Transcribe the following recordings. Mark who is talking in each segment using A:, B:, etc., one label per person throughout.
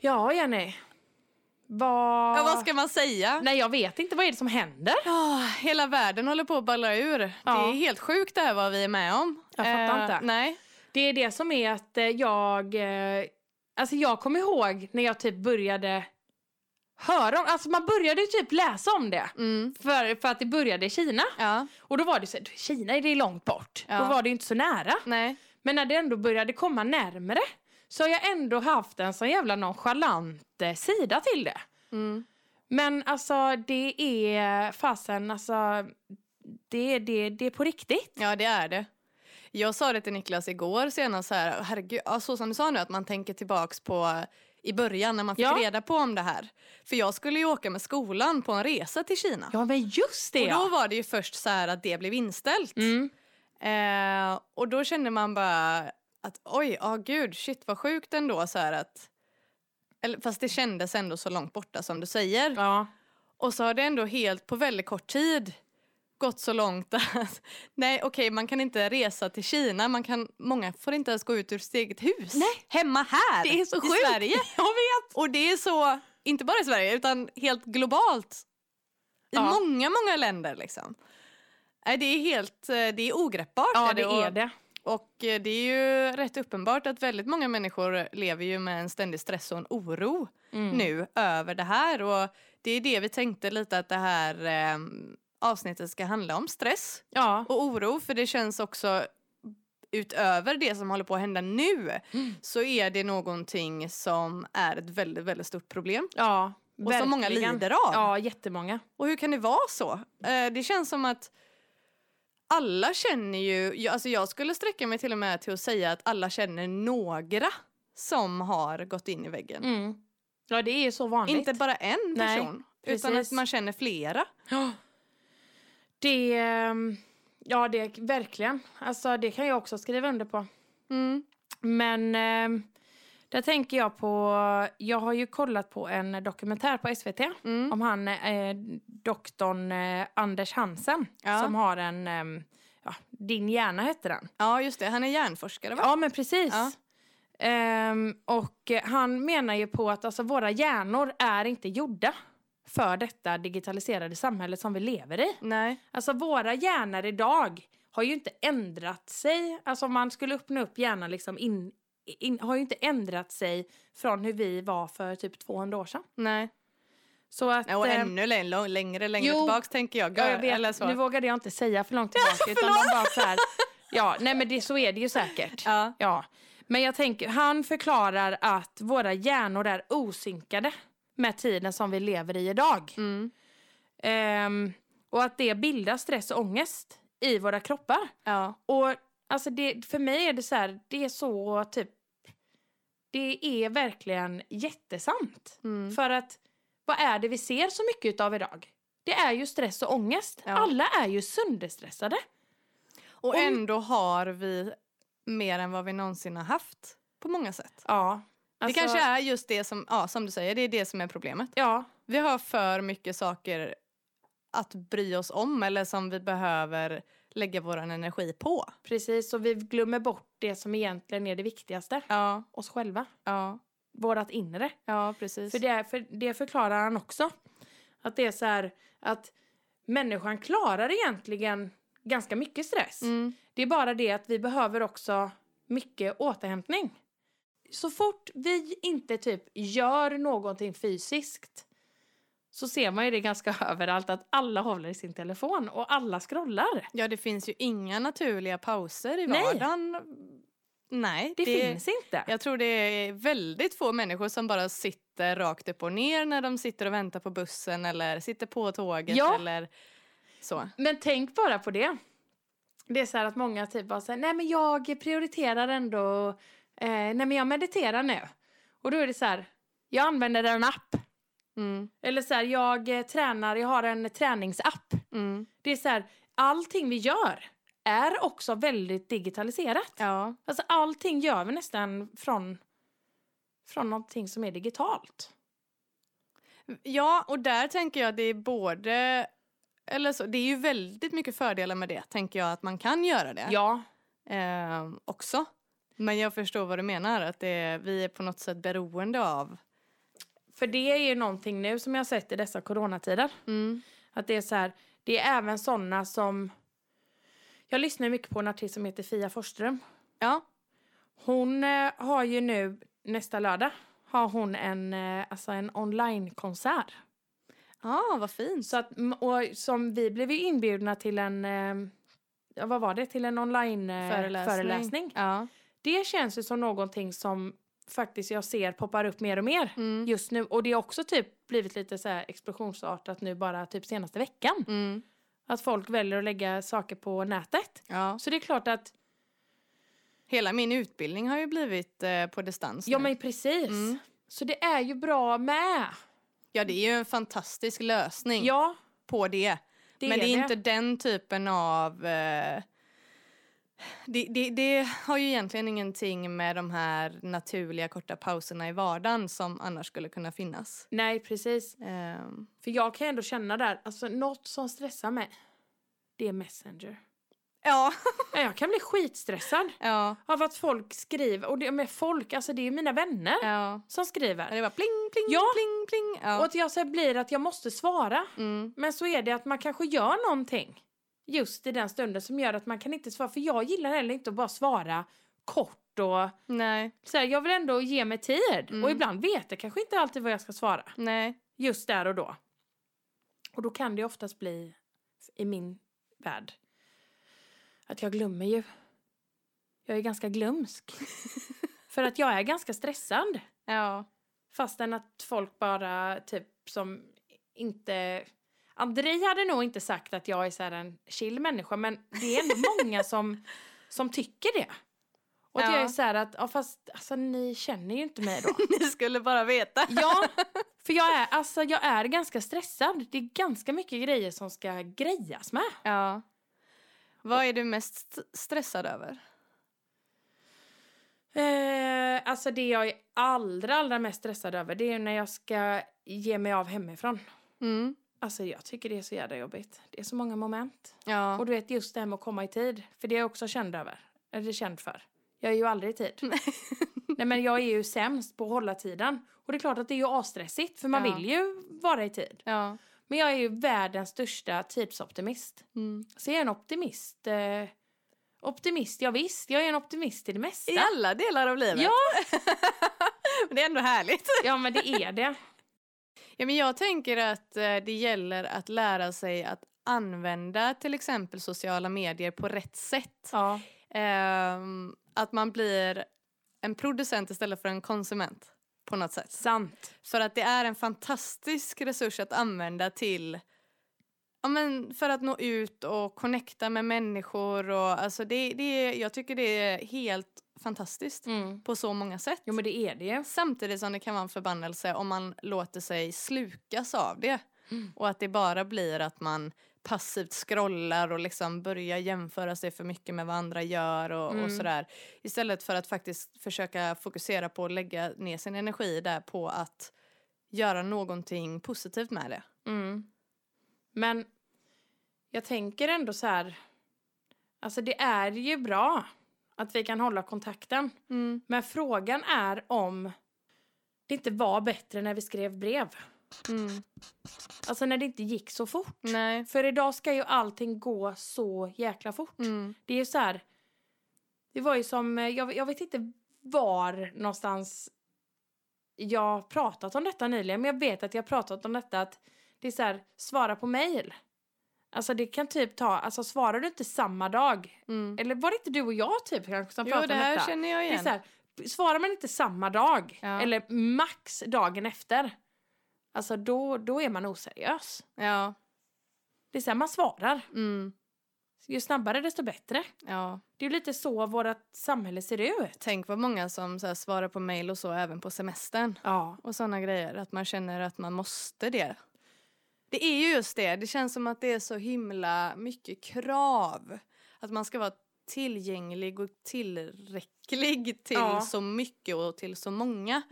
A: Ja, Jenny. Vad...
B: Ja, vad ska man säga?
A: Nej, jag vet inte. Vad är det som händer?
B: Ah, hela världen håller på att balla ur. Det
A: Ja.
B: är helt sjukt det här vad vi är med om. Eh,
A: Jag fattar inte.
B: Nej.
A: Det är det som är att eh, jag... eh, Alltså jag kommer ihåg när jag typ började höra om... Alltså man började typ läsa om det.
B: Mm.
A: För, för att det började i Kina.
B: Ja.
A: Och då var det så här, Kina är det långt bort.
B: Ja.
A: Då var det ju inte så nära.
B: Nej.
A: Men när det ändå började komma närmare så har jag ändå haft en sån jävla nonchalant eh, sida till det.
B: Mm.
A: Men alltså det är fasen, alltså det, det, det är på riktigt.
B: Ja, det är det. Jag sa det till Niklas igår senast, så här, herregud, ja, så som du sa nu, att man tänker tillbaks på eh, i början när man fick
A: Ja.
B: reda på om det här. För jag skulle ju åka med skolan på en resa till Kina.
A: Ja men just det
B: Och då
A: ja.
B: var det ju först så här att det blev inställt.
A: Mm.
B: Eh, och då kände man bara att oj, ja gud, shit vad sjukt ändå så här att eller, fast det kändes ändå så långt borta som du säger.
A: Ja.
B: Och så har det ändå helt på väldigt kort tid gått så långt att nej okej man kan inte resa till Kina, man kan, många får inte ens gå ut ur sitt eget hus.
A: Nej.
B: Hemma här
A: Det är så
B: i
A: sjukt.
B: Sverige.
A: Jag vet!
B: Och det är så, inte bara i Sverige utan helt globalt. I
A: Ja.
B: många, många länder liksom. Nej, det är helt, eh, det är ogreppbart.
A: Ja det
B: och-
A: är det.
B: och eh, det är ju rätt uppenbart att väldigt många människor lever ju med en ständig stress och en oro
A: Mm.
B: nu över det här. Och det är det vi tänkte lite att det här eh, avsnittet ska handla om, stress
A: Ja.
B: och oro. För det känns också utöver det som håller på att hända nu så är det någonting som är ett väldigt, väldigt stort problem.
A: Ja.
B: Och som många
A: verkligen.
B: lider av.
A: Ja jättemånga.
B: Och hur kan det vara så? Eh, det känns som att alla känner ju, jag, alltså jag skulle sträcka mig till och med till att säga att alla känner några som har gått in i väggen.
A: Mm. Ja det är ju så vanligt.
B: Inte bara en
A: Nej,
B: person, utan
A: precis.
B: att man känner flera.
A: Ja. Det, ehm, ja det verkligen. Alltså det kan jag också skriva under på.
B: Mm.
A: Men ehm, där tänker jag på, jag har ju kollat på en dokumentär på SVT
B: Mm.
A: om han eh, doktorn eh, Anders Hansen
B: Ja.
A: som har en, ehm, ja, Din hjärna heter den.
B: Ja, just det. Han är hjärnforskare, va?
A: Ja men precis.
B: Ja.
A: Ehm, och eh, han menar ju på att alltså, våra hjärnor är inte gjorda för detta digitaliserade samhälle som vi lever i.
B: Nej.
A: Alltså våra hjärnor idag har ju inte ändrat sig. Alltså om man skulle öppna upp hjärnan liksom in, in, har ju inte ändrat sig från hur vi var för typ 200 år sedan.
B: Nej.
A: Så att...
B: Nej, Och
A: eh,
B: ännu längre, längre, längre
A: jo.
B: tillbaks tänker jag.
A: ja, jag
B: Eller
A: vet,
B: så.
A: nu vågade jag inte säga för långt tillbaka utan de bara så här... Ja, nej men det, så är det ju säkert.
B: Ja.
A: Ja. Men jag tänker, han förklarar att våra hjärnor är osynkade med tiden som vi lever i idag.
B: Mm.
A: Ehm, och att det bildar stress och ångest i våra kroppar.
B: ja.
A: Och alltså det, för mig är det så här, det är så typ, det är verkligen jättesamt.
B: Mm.
A: För att vad är det vi ser så mycket utav idag? Det är ju stress och ångest.
B: Ja.
A: Alla är ju sönderstressade.
B: Och
A: Om-
B: ändå har vi mer än vad vi någonsin har haft på många sätt.
A: Ja. Alltså-
B: det kanske är just det som, ja, som du säger, det är det som är problemet.
A: Ja,
B: Vi har för mycket saker att bry oss om eller som vi behöver lägga vår energi på.
A: precis. Och vi glömmer bort det som egentligen är det viktigaste.
B: Ja,
A: Oss själva.
B: ja,
A: Vårat inre.
B: ja precis.
A: För det, är- för det förklarar han också. Att det är så här att människan klarar egentligen ganska mycket stress.
B: mm.
A: Det är bara det att vi behöver också mycket återhämtning. Så fort vi inte typ gör någonting fysiskt så ser man ju det ganska överallt att alla håller i sin telefon och alla scrollar.
B: Ja, det finns ju inga naturliga pauser i
A: Nej.
B: vardagen. Nej,
A: Det, finns inte.
B: Jag tror det är väldigt få människor som bara sitter rakt upp och ner när de sitter och väntar på bussen eller sitter på tåget
A: Ja.
B: eller så.
A: Men tänk bara på det. Det är så här att många typ bara säger nej men jag prioriterar ändå, eh, nej men jag mediterar nu. Och då är det så här, jag använder en app.
B: Mm,
A: Eller så här, jag eh, tränar, jag har en träningsapp.
B: mm.
A: Det är så här, allting vi gör är också väldigt digitaliserat.
B: Ja.
A: Alltså allting gör vi nästan från, från någonting som är digitalt.
B: Ja, och där tänker jag att det är både... Eller så, det är ju väldigt mycket fördelar med det, tänker jag, att man kan göra det
A: Ja,
B: eh, också. Men jag förstår vad du menar, att det, vi är på något sätt beroende av
A: För det är ju någonting nu som jag har sett i dessa coronatider.
B: Mm.
A: Att det är så här, det är även sådana som... Jag lyssnar ju mycket på en artist som heter Fia Forsström.
B: Ja.
A: Hon eh, har ju nu, nästa lördag, har hon en, eh, alltså en online-konsert.
B: Ja, vad fint.
A: Så att, m- och som vi blev ju inbjudna till en, eh, ja, vad var det, till en Eh,
B: Föreläsning.
A: online-föreläsning.
B: Ja.
A: Det känns ju som någonting som faktiskt jag ser poppar upp mer och mer
B: Mm.
A: just nu. Och det har också typ blivit lite så här explosionsartat nu bara typ senaste veckan.
B: Mm.
A: Att folk väljer att lägga saker på nätet.
B: Ja.
A: Så det är klart att,
B: Hela min utbildning har ju blivit eh, på distans
A: ja
B: nu.
A: men precis.
B: Mm.
A: Så det är ju bra med.
B: ja, det är ju en fantastisk lösning
A: Ja,
B: på det.
A: det
B: Mm. men
A: är
B: det är inte den typen av... Eh, det, det, det har ju egentligen ingenting med de här naturliga korta pauserna i vardagen som annars skulle kunna finnas.
A: Nej, precis.
B: Ehm,
A: För jag kan ändå känna där, alltså något som stressar mig, det är Messenger.
B: ja.
A: Ja, Jag kan bli skitstressad
B: ja,
A: av att folk skriver, och det med folk, alltså det är ju mina vänner
B: ja.
A: som
B: Ja,
A: skriver.
B: Det var pling, pling,
A: Ja.
B: pling, pling.
A: Och
B: Ja.
A: att jag så här blir att jag måste svara.
B: Mm.
A: Men så är det att man kanske gör någonting just i den stunden som gör att man kan inte svara. För jag gillar heller inte att bara svara kort och
B: Nej,
A: så här, jag vill ändå ge mig tid.
B: Mm.
A: Och ibland vet jag kanske inte alltid vad jag ska svara.
B: nej.
A: just där och då. Och då kan det oftast bli, i min värld, att jag glömmer ju. Jag är ganska glömsk. För att jag är ganska stressad.
B: Ja.
A: Fastän att folk bara typ som inte... André hade nog inte sagt att jag är så här en chill människa men det är ändå många som, som tycker det. Och att
B: Ja.
A: jag är så här att, ja fast alltså, ni känner ju inte mig då.
B: Ni skulle bara veta.
A: Ja, för jag är, alltså, jag är ganska stressad. Det är ganska mycket grejer som ska grejas med.
B: Ja. Vad är du mest st- stressad över?
A: Eh, alltså det jag är allra, allra mest stressad över det är ju när jag ska ge mig av hemifrån.
B: Mm.
A: Alltså jag tycker det är så jävla jobbigt. Det är så många moment.
B: Ja.
A: Och du vet just det här med att komma i tid. För det är jag också känd över. Eller känd för. Jag är ju aldrig i tid. Nej men jag är ju sämst på att hålla tiden. Och det är klart att det är ju asstressigt för man
B: Ja.
A: vill ju vara i tid.
B: ja.
A: Men jag är ju världens största tidsoptimist.
B: Mm.
A: Så jag är en optimist. Eh, optimist, ja visst. Jag är en optimist i det mesta.
B: I alla delar av livet.
A: Ja.
B: men det är ändå härligt.
A: Ja, men det är det.
B: Ja, men jag tänker att eh, det gäller att lära sig att använda till exempel sociala medier på rätt sätt.
A: Ja.
B: Ehm, att man blir en producent istället för en konsument på något sätt.
A: Sant.
B: För att det är en fantastisk resurs att använda till ja, men för att nå ut och connecta med människor. Och, alltså det, det, är- jag tycker det är helt fantastiskt
A: Mm.
B: på så många sätt.
A: Jo, men det är det ju.
B: Samtidigt som det kan vara en förbannelse om man låter sig slukas av det.
A: Mm.
B: Och att det bara blir att man passivt scrollar och liksom börjar jämföra sig för mycket med vad andra gör och, och
A: Mm.
B: sådär. Istället för att faktiskt försöka fokusera på att lägga ner sin energi där på att göra någonting positivt med det.
A: Mm. Men jag tänker ändå så här... Alltså, det är ju bra att vi kan hålla kontakten. Men frågan är om det inte var bättre när vi skrev brev.
B: Mm.
A: Alltså när det inte gick så fort.
B: Nej.
A: För idag ska ju allting gå så jäkla fort.
B: Mm.
A: Det är ju så här... Det var ju som... eh, Jag, jag vet inte var någonstans jag har pratat om detta nyligen. Men jag vet att jag har pratat om detta att det är så här, svara på mejl. Alltså det kan typ ta, alltså svarar du inte samma dag.
B: Mm.
A: Eller var det inte du och jag typ kanske som
B: Jo,
A: pratade
B: det
A: om
B: här
A: detta?
B: känner jag
A: det är
B: igen.
A: så här, svarar man inte samma dag.
B: Ja.
A: Eller max dagen efter. Alltså då, då är man oseriös.
B: Ja.
A: Det är så här, man svarar.
B: Mm.
A: Ju snabbare desto bättre.
B: ja.
A: Det är ju lite så vårt samhälle ser ut.
B: Tänk vad många som så här, svarar på mejl och så även på semestern.
A: Ja.
B: och såna grejer. Att man känner att man måste det. Det är ju just det. Det känns som att det är så himla mycket krav. Att man ska vara tillgänglig och tillräcklig till
A: Ja. Mm.
B: så mycket och till så många.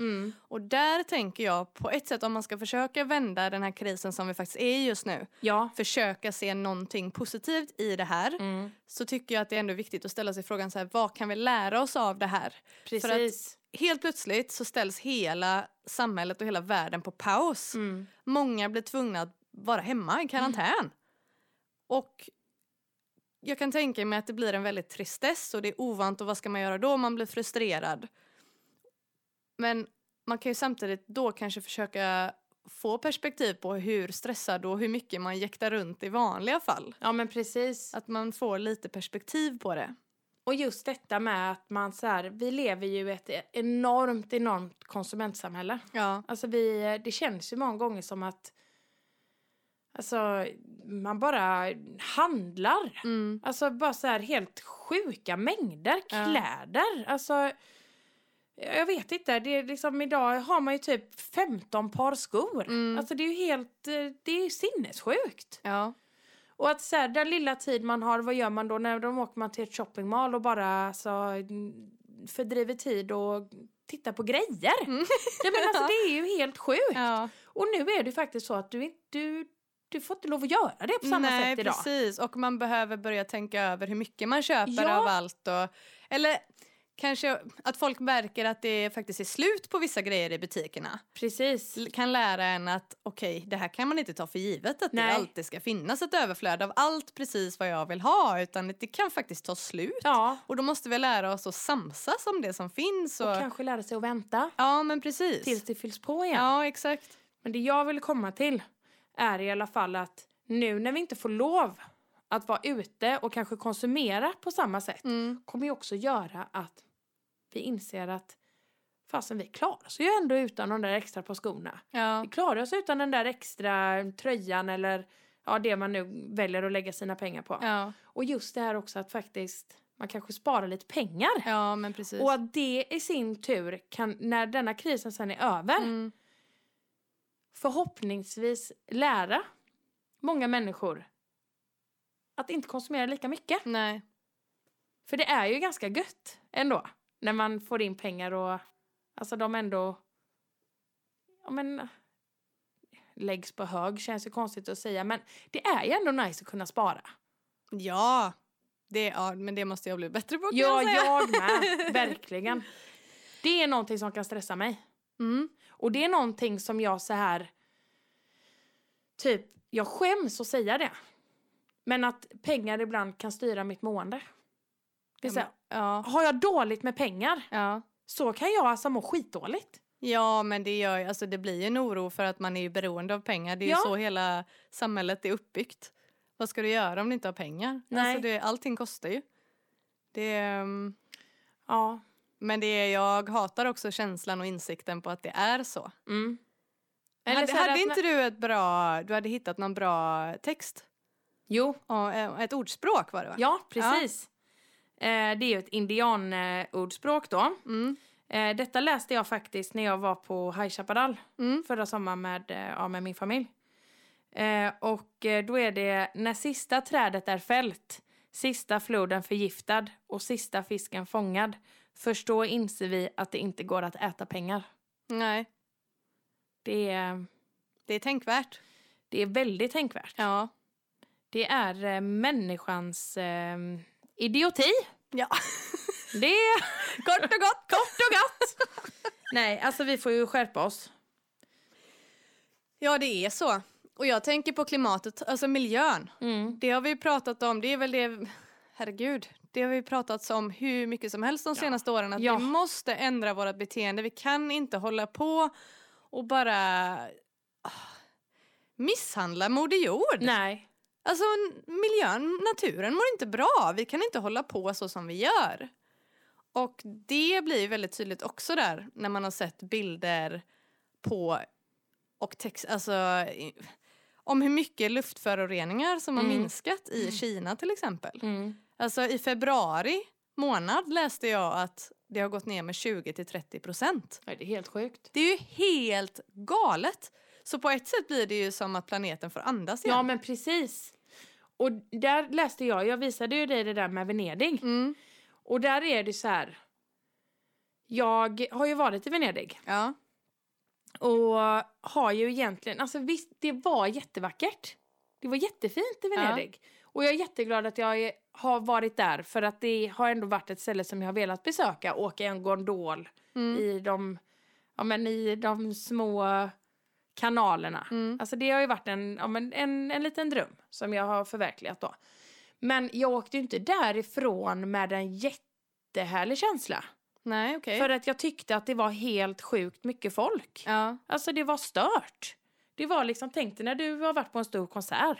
B: Och där tänker jag på ett sätt om man ska försöka vända den här krisen som vi faktiskt är i just nu.
A: Ja.
B: Försöka se någonting positivt i det här.
A: Mm.
B: Så tycker jag att det är ändå viktigt att ställa sig frågan så här, vad kan vi lära oss av det här?
A: Precis.
B: För att helt plötsligt så ställs hela samhället och hela världen på paus.
A: Mm.
B: Många blir tvungna att vara hemma i karantän. Och jag kan tänka mig att det blir en väldigt tristess och det är ovant och vad ska man göra då? Man blir frustrerad. Men man kan ju samtidigt då kanske försöka få perspektiv på hur stressad och hur mycket man jäktar runt i vanliga fall.
A: Ja, men precis.
B: Att man får lite perspektiv på det.
A: Och just detta med att man så här, vi lever ju i ett enormt, enormt konsumentsamhälle.
B: Ja.
A: Alltså vi, det känns ju många gånger som att alltså, man bara handlar.
B: Mm.
A: Alltså bara så här helt sjuka mängder
B: Ja.
A: kläder. Alltså, jag vet inte, det är liksom idag har man ju typ 15 par skor.
B: Mm.
A: Alltså det är ju helt, eh, det är ju sinnessjukt.
B: Ja.
A: Och att så här, den lilla tid man har, vad gör man då? När de åker man till ett shoppingmall och bara alltså, n- fördriver tid och tittar på grejer.
B: Mm.
A: Jag menar, alltså, det är ju helt sjukt.
B: ja.
A: Och nu är det ju faktiskt så att du, inte- du, du får inte lov att göra det på samma
B: Nej,
A: sätt idag.
B: precis. Och man behöver börja tänka över hur mycket man köper
A: Ja.
B: av allt. Och, eller kanske att folk märker att det faktiskt är slut på vissa grejer i butikerna.
A: Precis.
B: L- Kan lära en att okej, det här kan man inte ta för givet att
A: Nej.
B: det alltid ska finnas ett överflöd av allt precis vad jag vill ha. Utan det kan faktiskt ta slut.
A: Ja,
B: Och då måste vi lära oss att samsas om det som finns. Och,
A: och kanske lära sig att vänta
B: Ja, men precis.
A: tills det fylls på igen.
B: Ja, exakt.
A: Men det jag vill komma till är i alla fall att nu när vi inte får lov att vara ute och kanske konsumera på samma sätt
B: Mm.
A: kommer ju också göra att vi inser att fasen vi klarar oss ju ändå utan de där extra par skorna.
B: Ja.
A: Vi klarar oss utan den där extra tröjan eller ja, det man nu väljer att lägga sina pengar på.
B: Ja.
A: Och just det här också att faktiskt man kanske sparar lite pengar.
B: ja, men precis.
A: Och att det i sin tur kan, när denna krisen sen är över,
B: mm.
A: förhoppningsvis lära många människor att inte konsumera lika mycket.
B: Nej.
A: För det är ju ganska gött ändå. När man får in pengar och alltså de ändå ja men läggs på hög känns ju konstigt att säga men det är ju ändå nice att kunna spara.
B: Ja, det, ja, men det måste jag bli bättre på kan
A: Ja,
B: jag säga.
A: jag med. Verkligen. Det är någonting som kan stressa mig.
B: Mm.
A: Och det är någonting som jag så här... Typ, jag skäms att säga det. Men att pengar ibland kan styra mitt mående. Det är så här,
B: Ja,
A: har jag dåligt med pengar
B: ja.
A: så kan jag alltså må skitdåligt.
B: ja, men det, gör, ju- alltså, det blir ju en oro för att man är ju beroende av pengar. Det är
A: Ja.
B: ju så hela samhället är uppbyggt. Vad ska du göra om du inte har pengar?
A: Nej.
B: Alltså, det, allting kostar ju. Det, ehm,
A: Ja.
B: men det, är- jag hatar också känslan och insikten på att det är så.
A: Mm.
B: hade
A: så här
B: hade
A: att-
B: inte du ett bra, du hade hittat någon bra text?
A: Jo,
B: Ja, eh, ett ordspråk var det va?
A: ja precis. Eh, det är ju ett indianordspråk då.
B: Mm.
A: Eh, detta läste jag faktiskt när jag var på High Chaparral
B: Mm.
A: förra sommaren med, eh, ja, med min familj. Eh, och eh, då är det när sista trädet är fällt, sista floden förgiftad och sista fisken fångad. Först då inser vi att det inte går att äta pengar.
B: Nej,
A: Det är,
B: det är tänkvärt.
A: det är väldigt tänkvärt.
B: Ja.
A: Det är eh, människans eh, idioti.
B: Ja.
A: Det är kort och gott, kort och gott. Nej, alltså vi får ju skärpa oss.
B: Ja, det är så. Och jag tänker på klimatet, alltså miljön.
A: Mm.
B: Det har vi ju pratat om, det är väl det, herregud, det har vi ju pratat om hur mycket som helst de senaste åren. Att
A: Ja.
B: vi måste ändra vårt beteende, vi kan inte hålla på och bara ah, misshandla Moder Jord.
A: Nej.
B: Alltså n- miljön, naturen mår inte bra. Vi kan inte hålla på så som vi gör. Och det blir ju väldigt tydligt också där när man har sett bilder på och text, alltså i- om hur mycket luftföroreningar som har
A: Mm.
B: minskat i Kina till exempel.
A: Mm.
B: Alltså i februari månad läste jag att det har gått ner med 20 till 30 procent.
A: Nej, Det är helt sjukt.
B: Det är ju helt galet. Så på ett sätt blir det ju som att planeten får andas igen.
A: Ja, men precis. Och där läste jag, jag visade ju dig det där med Venedig.
B: Mm.
A: Och där är det så här. Jag har ju varit i Venedig
B: Ja.
A: och har ju egentligen, alltså visst det var jättevackert. Det var jättefint i
B: Ja.
A: Venedig. Och jag är jätteglad att jag är, har varit där för att det har ändå varit ett ställe som jag har velat besöka. Åka i en gondol
B: Mm.
A: i, de, ja, men i de små kanalerna.
B: Mm.
A: Alltså det har ju varit en, ja, men en, en liten dröm som jag har förverkligat då. Men jag åkte ju inte därifrån med en jättehärlig känsla.
B: Nej, okej.
A: För att jag tyckte att det var helt sjukt mycket folk.
B: Ja.
A: Alltså det var stört. Det var liksom, tänk dig när du har varit på en stor konsert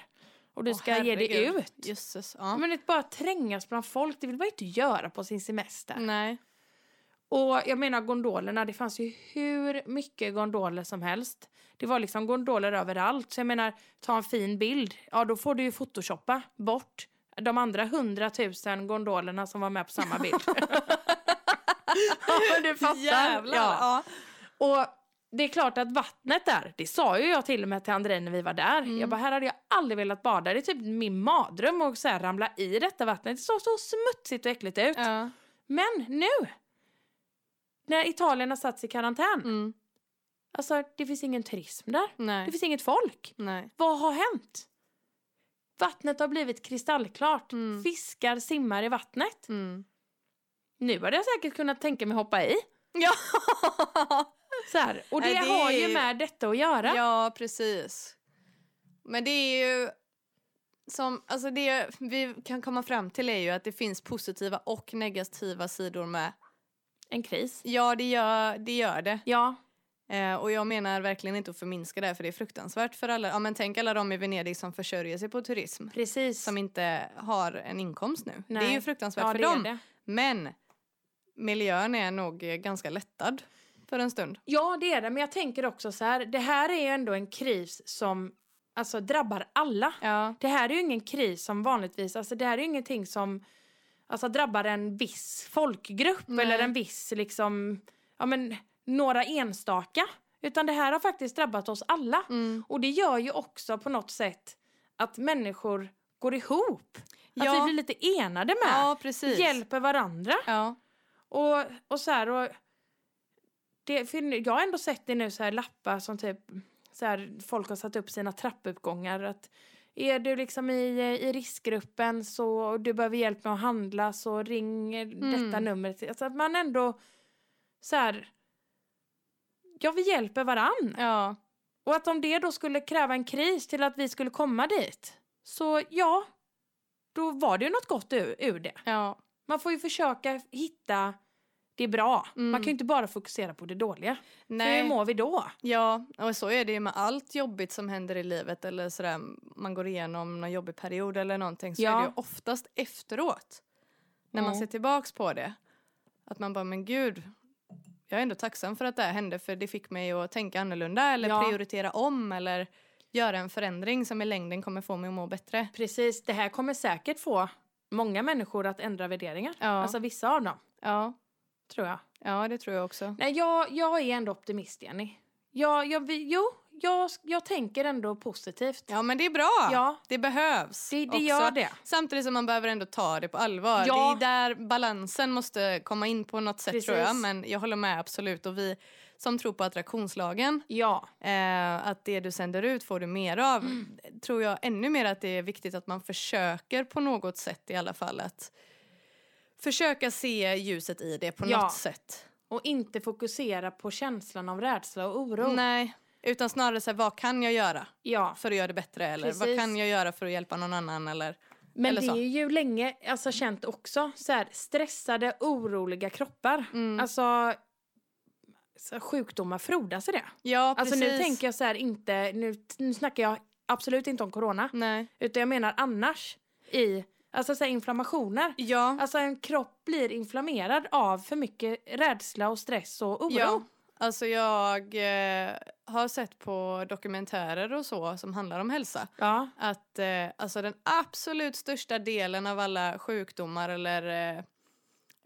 A: och du
B: Åh,
A: ska ge dig
B: herregud.
A: ut. Mm.
B: Jösses, ja.
A: Men att bara trängas bland folk, det vill man ju inte göra på sin semester.
B: Nej.
A: Och jag menar gondolerna, det fanns ju hur mycket gondoler som helst. Det var liksom gondoler överallt. Så jag menar, ta en fin bild, ja då får du ju photoshoppa bort de andra hundratusen gondolerna som var med på samma bild. ja, men du fattar.
B: Jävlar.
A: Ja.
B: Ja.
A: Och det är klart att vattnet där, det sa ju jag till och med till André när vi var där.
B: Mm.
A: Jag bara, här hade jag aldrig velat bada. Det är typ min mardröm att så här ramla i detta vattnet. Det såg så smutsigt och äckligt ut.
B: Ja.
A: Men nu, när Italien har satt sig i karantän,
B: Mm.
A: alltså det finns ingen turism där. Det
B: Nej.
A: finns inget folk.
B: Nej.
A: Vad har hänt? Vattnet har blivit kristallklart.
B: Mm.
A: Fiskar simmar i vattnet.
B: Mm.
A: Nu hade jag säkert kunnat tänka mig hoppa i.
B: Ja.
A: Så här. Och det,
B: Nej, det
A: har
B: är
A: ju
B: ju-
A: med detta att göra.
B: ja, precis. Men det är ju... Som, alltså det vi kan komma fram till är ju att det finns positiva och negativa sidor med.
A: En kris.
B: Ja, det gör det. Gör det.
A: Ja,
B: Eh, och jag menar verkligen inte att förminska det här, för det är fruktansvärt för alla. Ja, men tänk alla de i Venedig som försörjer sig på turism.
A: precis.
B: Som inte har en inkomst nu. Det är
A: Nej.
B: ju fruktansvärt
A: ja,
B: för
A: det är
B: dem.
A: det.
B: Men miljön är nog eh, ganska lättad för en stund.
A: Ja, det är det. Men jag tänker också så här. Det här är ju ändå en kris som alltså, drabbar alla.
B: Ja.
A: Det här är ju ingen kris som vanligtvis, alltså det här är ju ingenting som alltså, drabbar en viss folkgrupp
B: Nej.
A: eller en viss liksom, ja men några enstaka. Utan det här har faktiskt drabbat oss alla.
B: Mm.
A: Och det gör ju också på något sätt att människor går ihop. Att vi
B: Ja.
A: blir lite enade med.
B: ja, precis.
A: hjälper varandra.
B: Ja.
A: Och, och så här, och det, för jag har ändå sett det nu så här lappar som typ så här, folk har satt upp sina trappuppgångar. Att är du liksom i, eh, i riskgruppen så, och du behöver hjälp med att handla så ring eh, detta
B: Mm.
A: numret. Alltså att man ändå så här, ja vi hjälper varann.
B: ja.
A: Och att om det då skulle kräva en kris till att vi skulle komma dit. Så ja, då var det ju något gott ur, ur det.
B: Ja.
A: Man får ju försöka hitta det bra.
B: Mm.
A: Man kan ju inte bara fokusera på det dåliga. För hur
B: Nej.
A: mår vi då?
B: Ja, och så är det ju med allt jobbigt som händer i livet eller sådär man går igenom någon jobbig period eller någonting så
A: Ja.
B: är det ju oftast efteråt när man
A: Mm.
B: ser tillbaks på det att man bara men gud jag är ändå tacksam för att det här hände för det fick mig att tänka annorlunda eller
A: Ja.
B: prioritera om eller göra en förändring som i längden kommer få mig att må bättre.
A: Precis, det här kommer säkert få många människor att ändra värderingar.
B: Ja,
A: Alltså vissa av dem,
B: ja,
A: tror jag.
B: ja det tror jag också.
A: Nej, jag, jag är ändå optimist, Jenny. Jag, jag, vi- jo, jag, jag tänker ändå positivt.
B: Ja men det är bra,
A: Ja.
B: det behövs.
A: det, det
B: också.
A: gör det.
B: Samtidigt som man behöver ändå ta det på allvar.
A: Ja.
B: Det är där balansen måste komma in på något sätt tror jag.
A: Precis.
B: Men jag håller med absolut. Och vi som tror på attraktionslagen,
A: Ja,
B: eh, att det du sänder ut får du mer av.
A: Mm.
B: Tror jag ännu mer att det är viktigt att man försöker på något sätt i alla fall att försöka se ljuset i det på
A: Ja.
B: något sätt.
A: och inte fokusera på känslan av rädsla och oro.
B: Nej, utan snarare så här, vad kan jag göra
A: Ja.
B: för att göra det bättre? Eller vad
A: Precis.
B: kan jag göra för att hjälpa någon annan? Eller,
A: Men
B: eller
A: det
B: så.
A: är ju länge alltså, känt också, så här, stressade, oroliga kroppar.
B: Mm.
A: Alltså, så sjukdomar frodas i det.
B: ja, precis.
A: Alltså nu tänker jag så här inte, nu, nu snackar jag absolut inte om corona,
B: Nej.
A: utan jag menar annars i, alltså så här inflammationer.
B: Ja.
A: Alltså en kropp blir inflammerad av för mycket rädsla och stress och oro.
B: Ja, alltså jag eh, har sett på dokumentärer och så som handlar om hälsa
A: ja.
B: att eh, alltså den absolut största delen av alla sjukdomar eller, eh,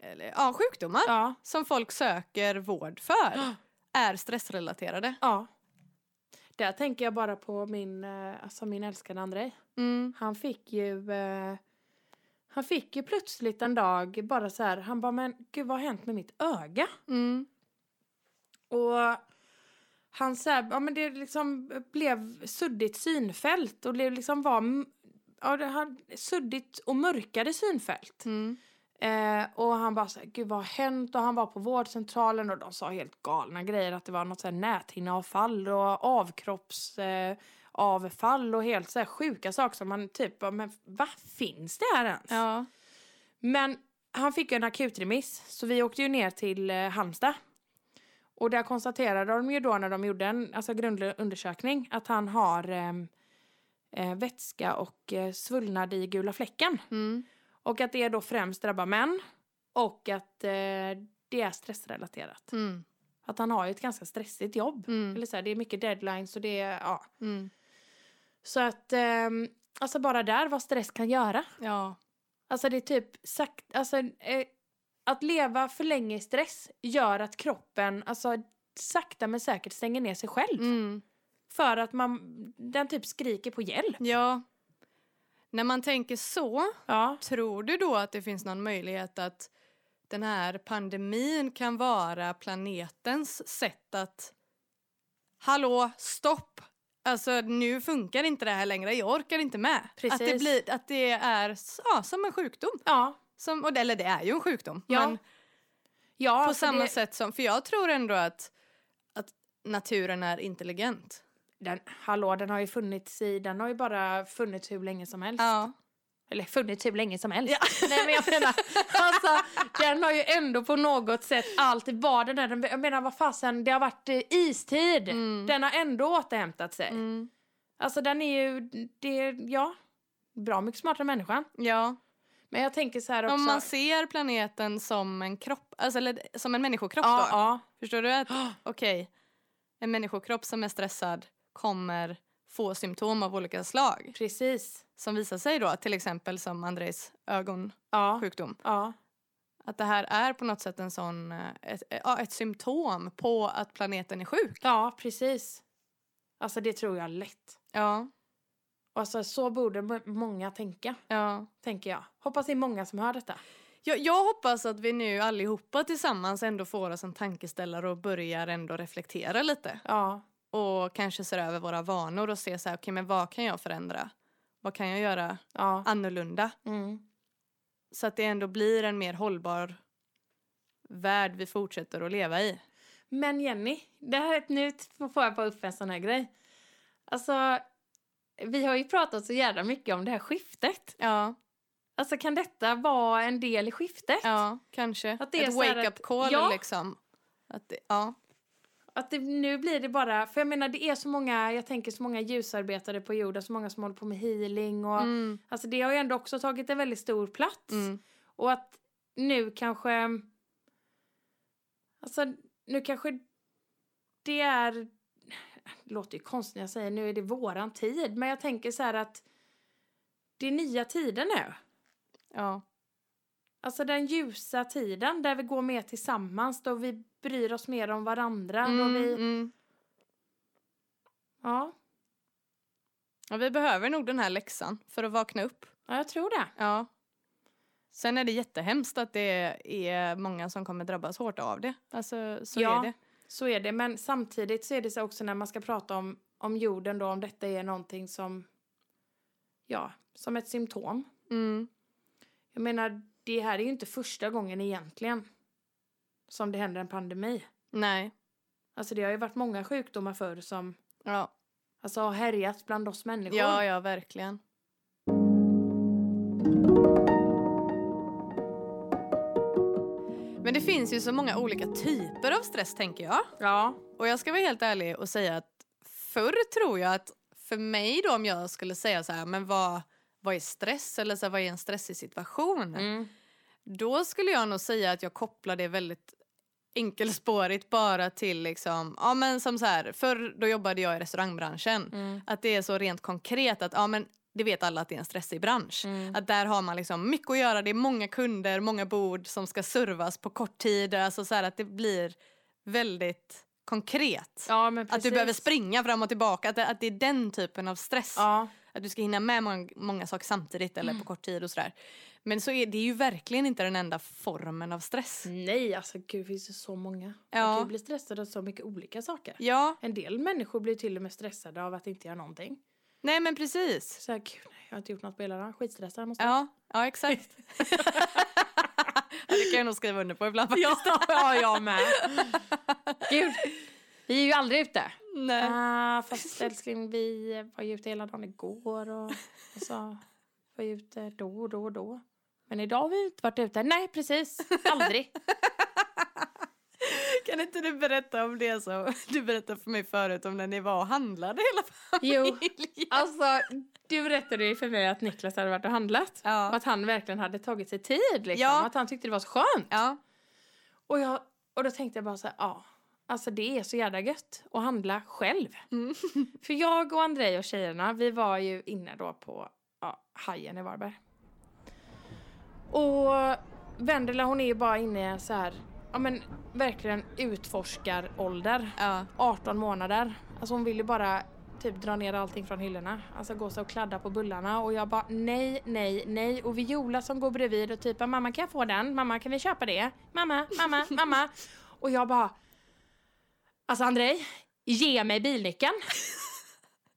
B: eller ja, sjukdomar
A: ja.
B: som folk söker vård för är stressrelaterade.
A: ja. Där tänker jag bara på min, eh, alltså min älskade Andrei.
B: Mm.
A: Han fick ju... Eh, han fick ju plötsligt en dag bara så här, han bara men gud vad har hänt med mitt öga?
B: Mm.
A: Och han så här, ja, men det liksom blev suddigt synfält och det liksom var m- ja, det hade suddigt och mörkade synfält.
B: Mm.
A: Eh, och han bara så här, gud vad har hänt? Och han var på vårdcentralen och de sa helt galna grejer. Att det var något så här näthinneavfall och avkroppsavfall eh, avfall och helt så här sjuka saker som man typ, bara, men vad finns det här ens?
B: Ja.
A: Men han fick ju en akutremiss så vi åkte ju ner till eh, Halmstad. Och där konstaterade de ju då när de gjorde en alltså grundlig undersökning att han har ehm, eh, vätska och eh, svullnad i gula fläcken.
B: Mm.
A: Och att det då främst drabbar män och att eh, det är stressrelaterat.
B: Mm.
A: Att han har ju ett ganska stressigt jobb.
B: Mm.
A: Eller så här, det är mycket deadlines och det är, ja.
B: Mm.
A: Så att, ehm, alltså bara där vad stress kan göra.
B: Ja.
A: Alltså det är typ sagt, alltså, eh, att leva för länge i stress gör att kroppen alltså, sakta men säkert stänger ner sig själv.
B: Mm.
A: För att man, den typ skriker på hjälp.
B: ja. När man tänker så,
A: Ja.
B: tror du då att det finns någon möjlighet att den här pandemin kan vara planetens sätt att Hallå, stopp! Alltså nu funkar inte det här längre, jag orkar inte med. Att det,
A: Precis.
B: blir, att det är ja, som en sjukdom.
A: Ja.
B: Som, och det- eller det är ju en sjukdom.
A: Ja,
B: men
A: ja
B: på
A: alltså
B: samma
A: det,
B: sätt som, för jag tror ändå att, att naturen är intelligent.
A: Den, hallå, den har ju funnits i, den har ju bara funnits hur länge som helst.
B: Ja.
A: Eller funnits hur länge som helst.
B: Ja.
A: Nej men jag menar, alltså den har ju ändå på något sätt alltid varit den där. Den- Jag menar vad fasen, det har varit eh, istid.
B: Mm.
A: Den har ändå återhämtat sig.
B: Mm.
A: Alltså den är ju, det, ja, bra mycket smartare än människan.
B: ja.
A: Men jag tänker så här också.
B: Om man ser planeten som en kropp, alltså, eller som en människokropp
A: ja,
B: då.
A: ja.
B: Förstår du att
A: Ja.
B: okej, en människokropp som är stressad kommer få symptom av olika slag
A: Precis.
B: som visar sig då till exempel som Andrejs ögonsjukdom.
A: Ja, ja,
B: Att det här är på något sätt en sån, eh, ett, eh, ja, ett symptom på att planeten är sjuk.
A: ja, precis. Alltså det tror jag lätt.
B: Ja,
A: Alltså så borde m- många tänka,
B: ja.
A: tänker jag. Hoppas det är många som hör detta.
B: Jag, jag hoppas att vi nu allihopa tillsammans ändå får oss en tankeställare och börjar ändå reflektera lite.
A: Ja,
B: Och kanske ser över våra vanor och ser så här, okej men vad kan jag förändra? Vad kan jag göra
A: ja.
B: annorlunda?
A: Mm.
B: Så att det ändå blir en mer hållbar värld vi fortsätter att leva i.
A: Men Jenny, det här, nu får jag bara upp en sån här grej. Alltså, vi har ju pratat så jävla mycket om det här skiftet.
B: Ja,
A: Alltså kan detta vara en del i skiftet?
B: ja kanske.
A: Att det är
B: Ett
A: så här att-
B: wake-up call
A: Ja.
B: liksom. Att det, ja.
A: Att det, nu blir det bara, för jag menar det är så många, jag tänker så många ljusarbetare på jorden, så många som håller på med healing och
B: Mm,
A: alltså det har ju ändå också tagit en väldigt stor plats.
B: mm,
A: Och att nu kanske, alltså nu kanske det är, det låter ju konstigt när jag säger nu är det våran tid, men jag tänker så här att det är nya tider nu.
B: ja.
A: Alltså den ljusa tiden där vi går mer tillsammans, då vi bryr oss mer om varandra, då
B: Mm,
A: vi,
B: mm.
A: ja,
B: ja. Vi behöver nog den här läxan för att vakna upp.
A: ja jag tror det.
B: Ja. Sen är det jättehemskt att det är många som kommer drabbas hårt av det. Alltså, så
A: Ja.
B: är det.
A: Så är det, men samtidigt så är det så också när man ska prata om, om jorden då, om detta är någonting som, ja, som ett symptom.
B: Mm.
A: Jag menar, det här är ju inte första gången egentligen som det händer en pandemi.
B: Nej.
A: Alltså det har ju varit många sjukdomar förr som
B: Ja.
A: alltså, har härjat bland oss människor.
B: ja, ja, verkligen. Men det finns ju så många olika typer av stress tänker jag.
A: ja.
B: Och jag ska vara helt ärlig och säga att förr tror jag att för mig då om jag skulle säga så här, men vad, vad är stress eller så här, vad är en stressig situation?
A: Mm.
B: Då skulle jag nog säga att jag kopplar det väldigt enkelspårigt bara till liksom, ja men som så här, förr då jobbade jag i restaurangbranschen.
A: Mm.
B: Att det är så rent konkret att ja men det vet alla att det är en stressig bransch.
A: Mm.
B: Att där har man liksom mycket att göra, det är många kunder, många bord som ska servas på kort tid. Alltså så här att det blir väldigt konkret.
A: Ja, men precis.
B: Att du behöver springa fram och tillbaka, att det, att det är den typen av stress.
A: Ja, Mm.
B: Att du ska hinna med många, många saker samtidigt eller på kort tid och sådär. Men så är det är ju verkligen inte den enda formen av stress.
A: Nej, alltså gud, det finns ju så många. Man
B: Ja.
A: kan ju bli stressad av så mycket olika saker.
B: Ja,
A: En del människor blir till och med stressade av att inte göra någonting.
B: nej men precis.
A: Så här, gud, nej, jag har inte gjort något på hela dagen. Skitstressad måste
B: Ja, ja exakt. ja, det kan jag nog skriva under på ibland
A: jag.
B: faktiskt.
A: Ja, ja, jag med. Gud, vi är ju aldrig ute.
B: Nej.
A: Ah, fast älskling, vi var ju ute hela dagen igår och, och så var ju ute då och då och då. Men idag har vi inte varit ute. Nej, precis. Aldrig.
B: Kan inte du berätta om det som du berättade för mig förut om när ni var och handlade hela
A: Jo,
B: familjen?
A: alltså du berättade ju för mig att Niklas hade varit och handlat. Och
B: Ja.
A: att han verkligen hade tagit sig tid liksom.
B: Ja.
A: Att han tyckte det var så skönt.
B: ja.
A: Och, jag, och då tänkte jag bara så här, ja. Alltså det är så jävla gött att handla själv.
B: Mm.
A: För jag och Andrej och tjejerna, vi var ju inne då på ja, Hajen i Varberg. Och Vendela hon är ju bara inne i en så här, ja men verkligen utforskarålder.
B: ja.
A: 18 månader. Alltså hon ville bara typ dra ner allting från hyllorna. Alltså gå så och kladda på bullarna och jag bara nej, nej, nej. Och Viola som går bredvid och typ mamma kan jag få den? Mamma kan vi köpa det? Mamma, mamma, mamma. Och jag bara Alltså Andrej, ge mig bilnyckeln.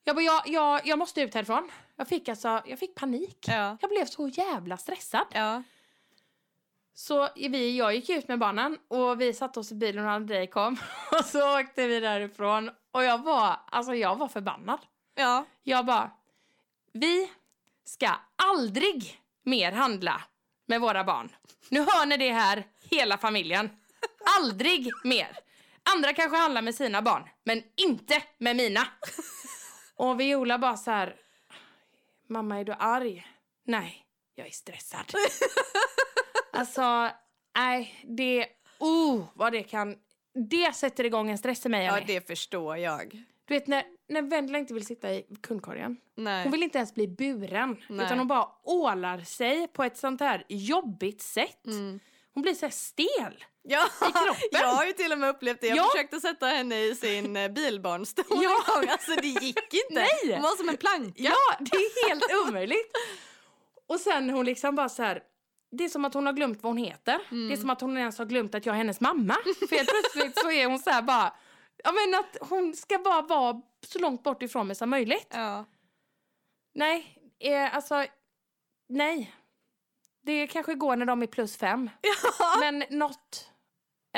A: Jag bara jag, jag, jag måste ut härifrån. Jag fick alltså, jag fick panik.
B: Ja.
A: Jag blev så jävla stressad.
B: Ja.
A: Så vi, jag gick ut med barnen och vi satte oss i bilen och Andrej kom och så åkte vi därifrån och jag var, alltså jag var förbannad.
B: Ja.
A: Jag bara, vi ska aldrig mer handla med våra barn. Nu hör ni det här, hela familjen. Aldrig mer. Andra kanske handlar med sina barn, men inte med mina. Och Viola bara så här, mamma är du arg? Nej, jag är stressad. Alltså, nej, det, oh vad det kan, det sätter igång en stress i mig.
B: ja,
A: Annie.
B: det förstår jag.
A: Du vet när, när Vendela inte vill sitta i kundkorgen.
B: Nej.
A: Hon vill inte ens bli buren.
B: Nej.
A: Utan hon bara ålar sig på ett sånt här jobbigt sätt.
B: Mm.
A: Hon blir så här stel.
B: Ja,
A: kroppen.
B: jag har ju till och med upplevt det. Jag
A: Ja.
B: försökte sätta henne i sin eh, bilbarnstol
A: Ja.
B: en gång. Alltså det gick inte.
A: Nej.
B: Hon var som en plank.
A: Ja, det är helt omöjligt. Och sen hon liksom bara så här. Det är som att hon har glömt vad hon heter.
B: Mm.
A: Det är som att hon ens har glömt att jag är hennes mamma. För helt plötsligt så är hon så här bara. Ja men att hon ska bara vara så långt bort ifrån mig som möjligt.
B: Ja.
A: Nej, eh, alltså nej. Det kanske går när de är plus fem. Men not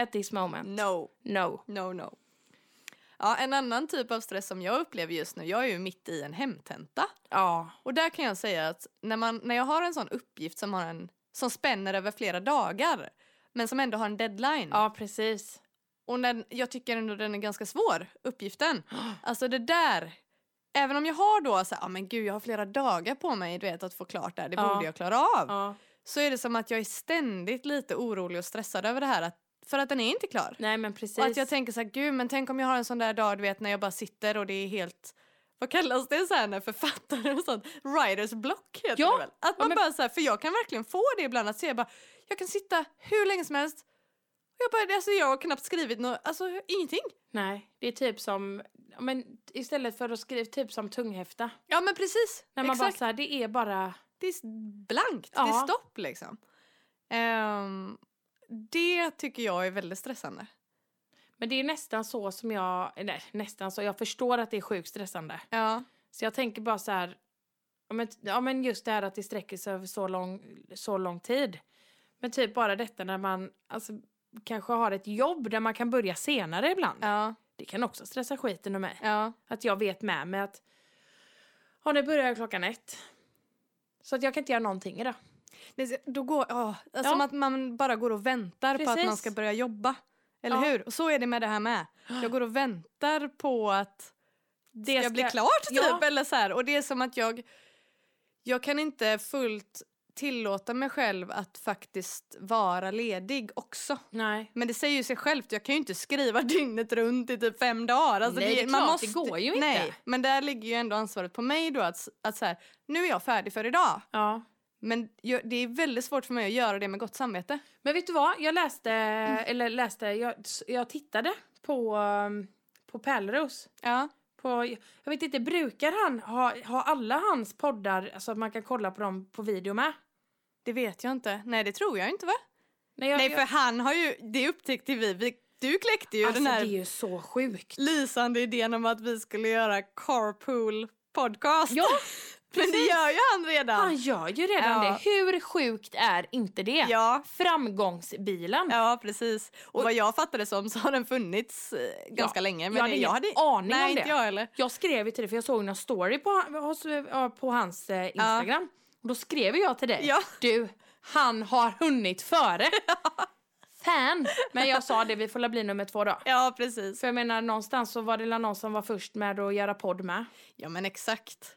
A: at this moment.
B: No,
A: No.
B: no, no. Ja, en annan typ av stress som jag upplever just nu, jag är ju mitt i en hemtenta.
A: Ja.
B: Och där kan jag säga att när, man, när jag har en sån uppgift som, har en, som spänner över flera dagar men som ändå har en deadline.
A: Ja, precis.
B: Och när, jag tycker ändå den är ganska svår, uppgiften. Alltså det där, även om jag har då så här, ah, men gud jag har flera dagar på mig du vet, att få klart det här, det
A: Ja.
B: borde jag klara av.
A: Ja.
B: Så är det som att jag är ständigt lite orolig och stressad över det här att, för att den är inte klar.
A: Nej, men precis.
B: Och att jag tänker så här, gud men tänk om jag har en sån där dag du vet när jag bara sitter och det är helt vad kallas det så här när författare och sånt? Writers block heter
A: Ja,
B: det väl? Att
A: ja,
B: man
A: men-
B: bara så här, för jag kan verkligen få det ibland att se bara, jag kan sitta hur länge som helst och jag bara, alltså jag har knappt skrivit något, alltså ingenting.
A: Nej, det är typ som... ja, Men istället för att skriva typ som tunghäfta.
B: Ja men precis,
A: När man bara
B: exakt.
A: så här, det är bara...
B: Det är s- blankt, det
A: Ja.
B: är stopp liksom. Ehm, det tycker jag är väldigt stressande.
A: Men det är nästan så som jag... Nej, nästan så. Jag förstår att det är sjukt stressande.
B: Ja,
A: Så jag tänker bara så här... Ja men, ja, men just det här att det sträcker sig över så lång, så lång tid. Men typ bara detta när man alltså, kanske har ett jobb där man kan börja senare ibland.
B: ja,
A: Det kan också stressa skiten ur mig.
B: ja.
A: Att jag vet med mig att ja, nu börjar jag klockan ett. Så att jag kan inte göra någonting idag.
B: Nej, så- Då går, åh, alltså
A: Ja.
B: Som att man bara går och väntar på att man
A: Precis.
B: ska börja jobba. Eller
A: Ja.
B: hur? Och så är det med det här med. Jag går och väntar på att det ska,
A: ska-
B: bli klart typ.
A: Ja.
B: Eller så här. Och det är som att jag, jag kan inte fullt tillåta mig själv att faktiskt vara ledig också.
A: Nej.
B: Men det säger ju sig självt, jag kan ju inte skriva dygnet runt i typ fem dagar. Alltså
A: Nej, det är klart, det går ju inte.
B: Nej, men där ligger ju ändå ansvaret på mig då att, s- att så här, nu är jag färdig för idag.
A: Ja.
B: Men jag, det är väldigt svårt för mig att göra det med gott samvete.
A: Men vet du vad? Jag läste,
B: Mm.
A: eller läste, jag, jag tittade på, um, på Pärleros.
B: Ja.
A: på- på... Jag vet inte, brukar han ha, ha alla hans poddar så att man kan kolla på dem på video med?
B: Det vet jag inte. Nej, det tror jag inte va?
A: Nej, jag,
B: Nej, för han har ju, det upptäckte vi. vi du kläckte ju
A: alltså,
B: den här
A: det är ju så sjukt.
B: lysande idén om att vi skulle göra carpool podcast.
A: Ja,
B: Men det
A: precis.
B: gör ju han redan.
A: han gör ju redan
B: Ja.
A: det. Hur sjukt är inte det?
B: Ja,
A: Framgångsbilen.
B: ja precis. Och vad jag fattade som så har den funnits eh, ganska länge. Men
A: jag hade
B: jag
A: ingen
B: hade
A: aning
B: Nej,
A: om det.
B: inte jag heller.
A: Jag skrev ju till dig, för jag såg någon story på, hos, ja, på hans eh, Instagram. Och då skrev jag till dig.
B: Ja.
A: Du, han har hunnit före. Fan! Men jag sa det, vi får la bli nummer två då.
B: Ja, precis.
A: För jag menar, någonstans så var det la någon som var först med att göra podd med.
B: Ja, men exakt.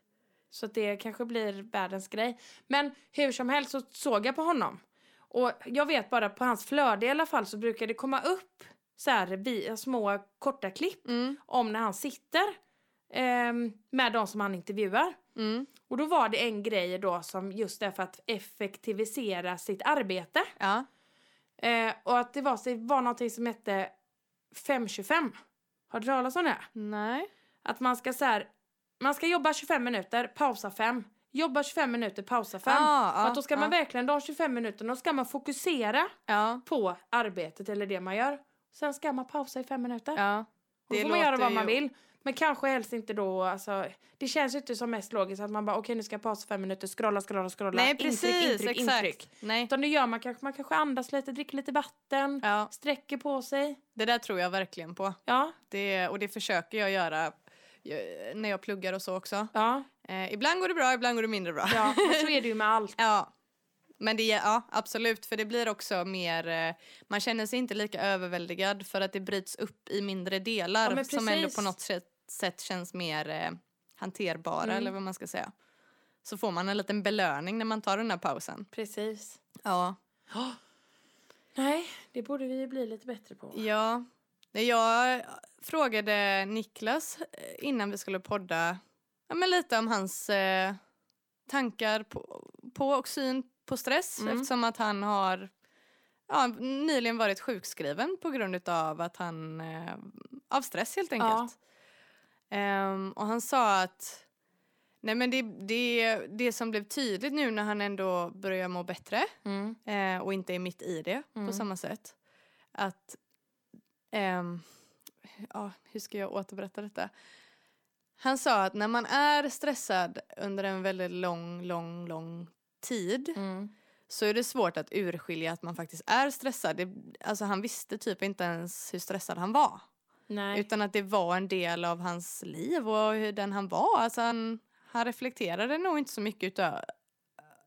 A: Så att det kanske blir världens grej. Men hur som helst så såg jag på honom. Och jag vet bara på hans flöde i alla fall så brukar det komma upp så här vi, små korta klipp
B: Mm,
A: om när han sitter ehm, med de som han intervjuar.
B: mm,
A: Och då var det en grej då som just är för att effektivisera sitt arbete.
B: ja.
A: Eh, och att det var, så- det var någonting som hette 525. Har du hört talas om det?
B: Nej.
A: Att man ska så här, man ska jobba 25 minuter, pausa 5. Jobba 25 minuter, pausa 5.
B: Ah,
A: och
B: ah,
A: att då ska man
B: ah.
A: verkligen, de 25 minuterna, då ska man fokusera
B: Ja,
A: på arbetet eller det man gör. Sen ska man pausa i 5 minuter.
B: ja.
A: Och då
B: det
A: får man göra
B: låter
A: vad man
B: ju-
A: vill. Men kanske helst inte då, alltså, det känns ju inte som mest logiskt att man bara okej nu ska jag pausa fem minuter, scrolla, scrolla, scrolla.
B: Nej, precis.
A: intryck,
B: exakt.
A: intryck.
B: Nej.
A: Utan det gör man kanske, man kanske andas lite, dricker lite vatten,
B: Ja,
A: sträcker på sig.
B: det där tror jag verkligen på.
A: Ja,
B: Det, och det försöker jag göra eh, när jag pluggar och så också.
A: ja,
B: Eh, ibland går det bra, ibland går det mindre bra.
A: ja. Men så är det ju med allt.
B: Ja. Men det, ja, absolut, för det blir också mer... eh, Man känner sig inte lika överväldigad för att det bryts upp i mindre delar
A: Ja, men
B: som ändå
A: precis.
B: på något sätt, sätt känns mer eh, hanterbara,
A: Mm.
B: eller vad man ska säga. Så får man en liten belöning när man tar den här pausen.
A: Precis.
B: Ja.
A: Nej, det borde vi ju bli lite bättre på.
B: Ja. Nej, Jag frågade Niklas eh, innan vi skulle podda ja, men lite om hans eh, tankar på, på och syn på stress
A: Mm.
B: eftersom att han har ja, nyligen varit sjukskriven på grund av att han eh, av stress helt
A: Ja.
B: enkelt. Ehm, och han sa att nej men det, det, det som blev tydligt nu när han ändå börjar må bättre
A: Mm.
B: eh, och inte är mitt i det på
A: Mm.
B: samma sätt. Att, ehm, ja, hur ska jag återberätta detta? Han sa att när man är stressad under en väldigt lång, lång, lång tid
A: Mm.
B: så är det svårt att urskilja att man faktiskt är stressad. Det, alltså han visste typ inte ens hur stressad han var.
A: Nej.
B: Utan att det var en del av hans liv och hur den han var. Alltså han, han reflekterade nog inte så mycket utö-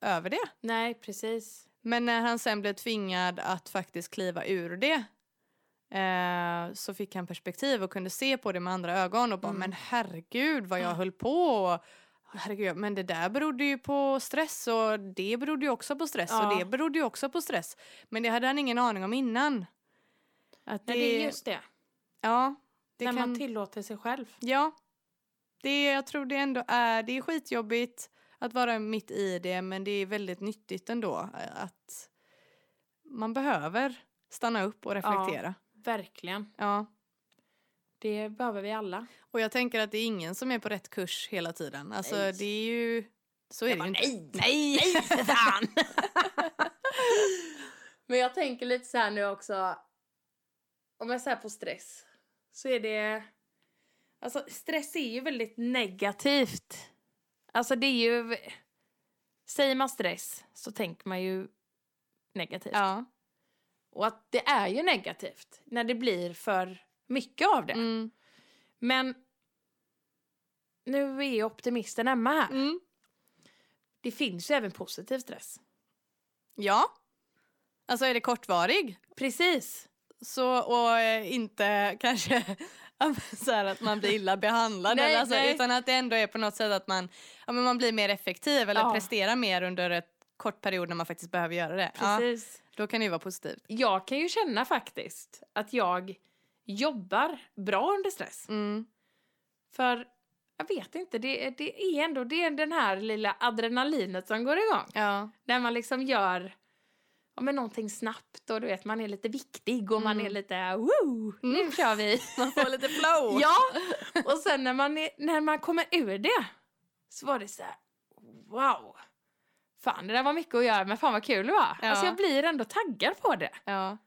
B: över det.
A: Nej, precis.
B: Men när han sen blev tvingad att faktiskt kliva ur det eh, så fick han perspektiv och kunde se på det med andra ögon och bara
A: Mm.
B: men herregud vad jag
A: Mm.
B: höll på och, herregud, men det där berodde ju på stress och det berodde ju också på stress
A: Ja.
B: och det berodde ju också på stress. Men det hade han ingen aning om innan. Att
A: Nej, det är just det.
B: Ja. Det
A: när
B: kan,
A: man tillåter sig själv.
B: ja. Det, jag tror det ändå är, det är skitjobbigt att vara mitt i det men det är väldigt nyttigt ändå eh, att man behöver stanna upp och reflektera.
A: Verkligen.
B: Ja.
A: Det behöver vi alla.
B: Och jag tänker att det är ingen som är på rätt kurs hela tiden. Alltså
A: Nej.
B: det är ju, så är det ju inte.
A: nej, nej, nej för fan! Men jag tänker lite så här nu också. Om jag säger på stress så är det... Alltså stress är ju väldigt negativt. Alltså det är ju... Säger man stress så tänker man ju negativt.
B: Ja.
A: Och att det är ju negativt när det blir för mycket av det.
B: Mm.
A: Men nu är ju optimisten Emma här.
B: Mm.
A: Det finns ju även positiv stress.
B: Ja. Alltså är det kortvarig
A: Precis.
B: så, och eh, inte kanske ja, men så här att man blir illa behandlad
A: Nej,
B: eller alltså,
A: nej.
B: utan att det ändå är på något sätt att man, ja, men man blir mer effektiv eller
A: Ja.
B: presterar mer under ett kort period när man faktiskt behöver göra det. Ja,
A: Precis.
B: då kan det ju vara positivt.
A: Jag kan ju känna faktiskt att jag jobbar bra under stress.
B: Mm.
A: För jag vet inte, det, det är ändå det är den här lilla adrenalinet som går igång.
B: Ja.
A: När man liksom gör ja, men någonting snabbt och du vet man är lite viktig och man är lite woo, nu kör vi.
B: Mm. Man får lite flow.
A: Ja, och sen när man, är, när man kommer ur det så var det så här, wow. Fan, det där var mycket att göra, men fan vad kul det var.
B: Ja.
A: Alltså jag blir ändå taggad på det.
B: Ja.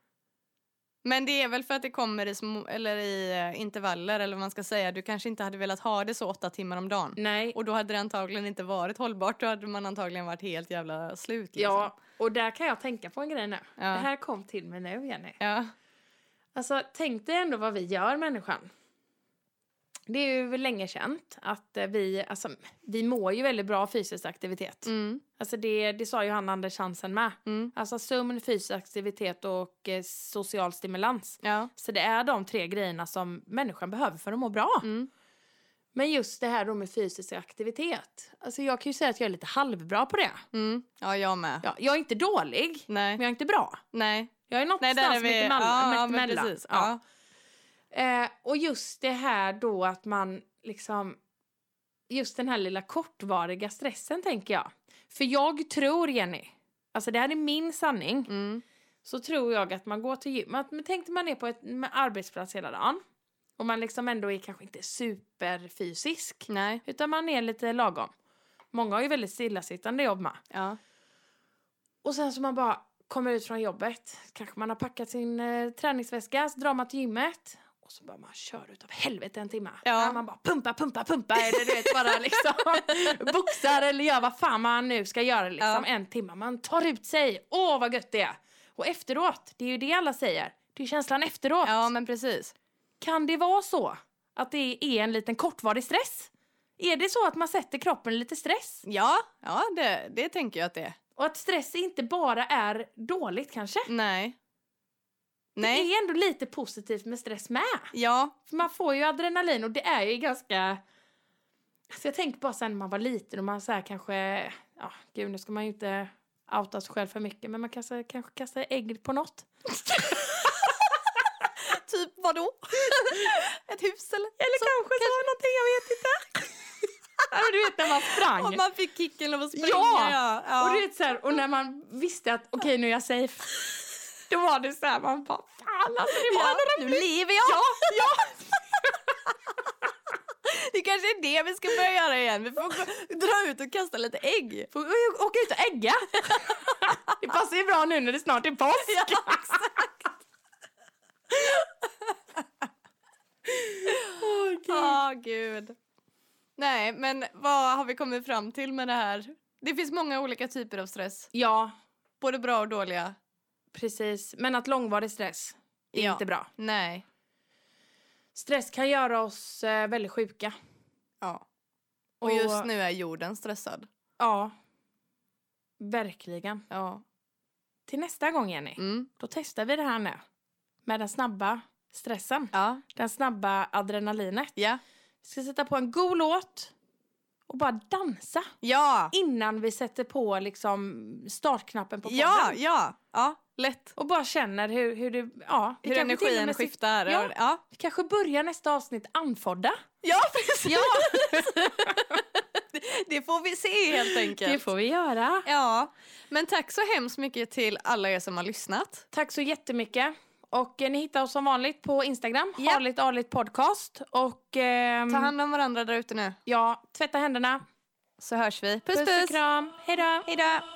B: Men det är väl för att det kommer i, små, eller i eh, intervaller eller vad man ska säga. Du kanske inte hade velat ha det så åtta timmar om dagen.
A: Nej,
B: Och då hade det antagligen inte varit hållbart. Då hade man antagligen varit helt jävla slut. Liksom.
A: ja, och där kan jag tänka på en grej nu.
B: Ja.
A: Det här kom till mig nu, Jenny.
B: Ja.
A: Alltså, tänk dig ändå vad vi gör, människan. Det är ju länge känt att eh, vi, alltså, vi mår ju väldigt bra av fysisk aktivitet.
B: Mm.
A: Alltså det, det sa ju han Anders Hansen med.
B: Mm.
A: Alltså sömn, fysisk aktivitet och eh, social stimulans.
B: Ja.
A: Så det är de tre grejerna som människan behöver för att må bra.
B: Mm.
A: Men just det här då med fysisk aktivitet. Alltså jag kan ju säga att jag är lite halvbra på det.
B: Mm. ja, jag med.
A: Ja, jag är inte dålig,
B: Nej.
A: men jag är inte bra.
B: Nej.
A: Jag är
B: Nej,
A: någonstans
B: där är vi.
A: mitt emellan.
B: ja, ja,
A: mitt
B: men
A: emellan.
B: precis.
A: Ja.
B: Ja.
A: Eh, och just det här då att man liksom... Just den här lilla kortvariga stressen, tänker jag. För jag tror, Jenny, alltså det här är min sanning,
B: Mm.
A: så tror jag att man går till gymmet. Men tänk dig man är på ett med arbetsplats hela dagen och man liksom ändå är kanske inte superfysisk,
B: Nej.
A: utan man är lite lagom. Många har ju väldigt stillasittande jobb med.
B: Ja.
A: Och sen så man bara kommer ut från jobbet. Kanske man har packat sin eh, träningsväska, så drar man till gymmet. Och så bara man kör utav helvete en timme.
B: Ja.
A: Där Man bara pumpa, pumpa, pumpa. Eller du vet bara liksom boxar eller gör vad fan man nu ska göra liksom
B: Ja.
A: en timme. Man tar ut sig. Åh vad gött det är. Och efteråt, det är ju det alla säger. Det är känslan efteråt.
B: ja, men precis.
A: Kan det vara så att det är en liten kortvarig stress? Är det så att man sätter kroppen i lite stress?
B: Ja, ja det, det tänker jag att det är.
A: Och att stress inte bara är dåligt kanske?
B: Nej. Nej.
A: Det är ändå lite positivt med stress med.
B: Ja,
A: För man får ju adrenalin och det är ju ganska... Alltså jag tänker bara sen när man var liten och man så här kanske... Ja, gud nu ska man ju inte outa sig själv för mycket men man kanske, kanske kastar ägg på något.
B: typ vadå? Ett hus eller?
A: Eller kanske sa någonting, jag vet inte. ja, men du vet när man sprang.
B: Och man fick kicken av att springa.
A: Ja!
B: Ja! ja.
A: Och, du vet, så här, och när man visste att okej nu är jag safe. Då var det så här, man bara fan alltså det var
B: Ja,
A: ändå den
B: nu lever jag! Ja, ja. det kanske är det vi ska börja göra igen. Vi får gå- dra ut och kasta lite ägg.
A: Får vi åka ut och ägga? det passar ju bra nu när det snart är påsk.
B: Ja, exakt. Ja, gud. Nej, men vad har vi kommit fram till med det här? Det finns många olika typer av stress.
A: Ja,
B: Både bra och dåliga.
A: precis. Men att långvarig stress är
B: Ja.
A: inte bra.
B: Nej.
A: Stress kan göra oss eh, väldigt sjuka.
B: Ja. Och just nu är jorden stressad.
A: Ja. Verkligen.
B: Ja.
A: Till nästa gång, Jenny,
B: Mm.
A: då testar vi det här nu. Med den snabba stressen.
B: Ja.
A: Den snabba adrenalinet.
B: Ja.
A: Vi ska sätta på en god låt och bara dansa
B: Ja.
A: innan vi sätter på liksom startknappen på podden.
B: Ja, ja. Ja, lätt.
A: Och bara känner hur, hur det... Ja, vi
B: Hur
A: kanske till och
B: energin
A: med sit-
B: skiftar.
A: Ja.
B: ja.
A: Vi kanske börjar nästa avsnitt andfådda.
B: ja precis.
A: Ja,
B: Det får vi se helt enkelt.
A: det får vi göra.
B: Ja, men tack så hemskt mycket till alla er som har lyssnat.
A: Tack så jättemycket. Och eh, ni hittar oss som vanligt på Instagram,
B: Ja.
A: harligt arligt podcast. Och ehm,
B: Ta hand om varandra där ute nu
A: ja, tvätta händerna.
B: så hörs vi.
A: Puss,
B: puss.
A: och kram. Hej då.
B: Hej då.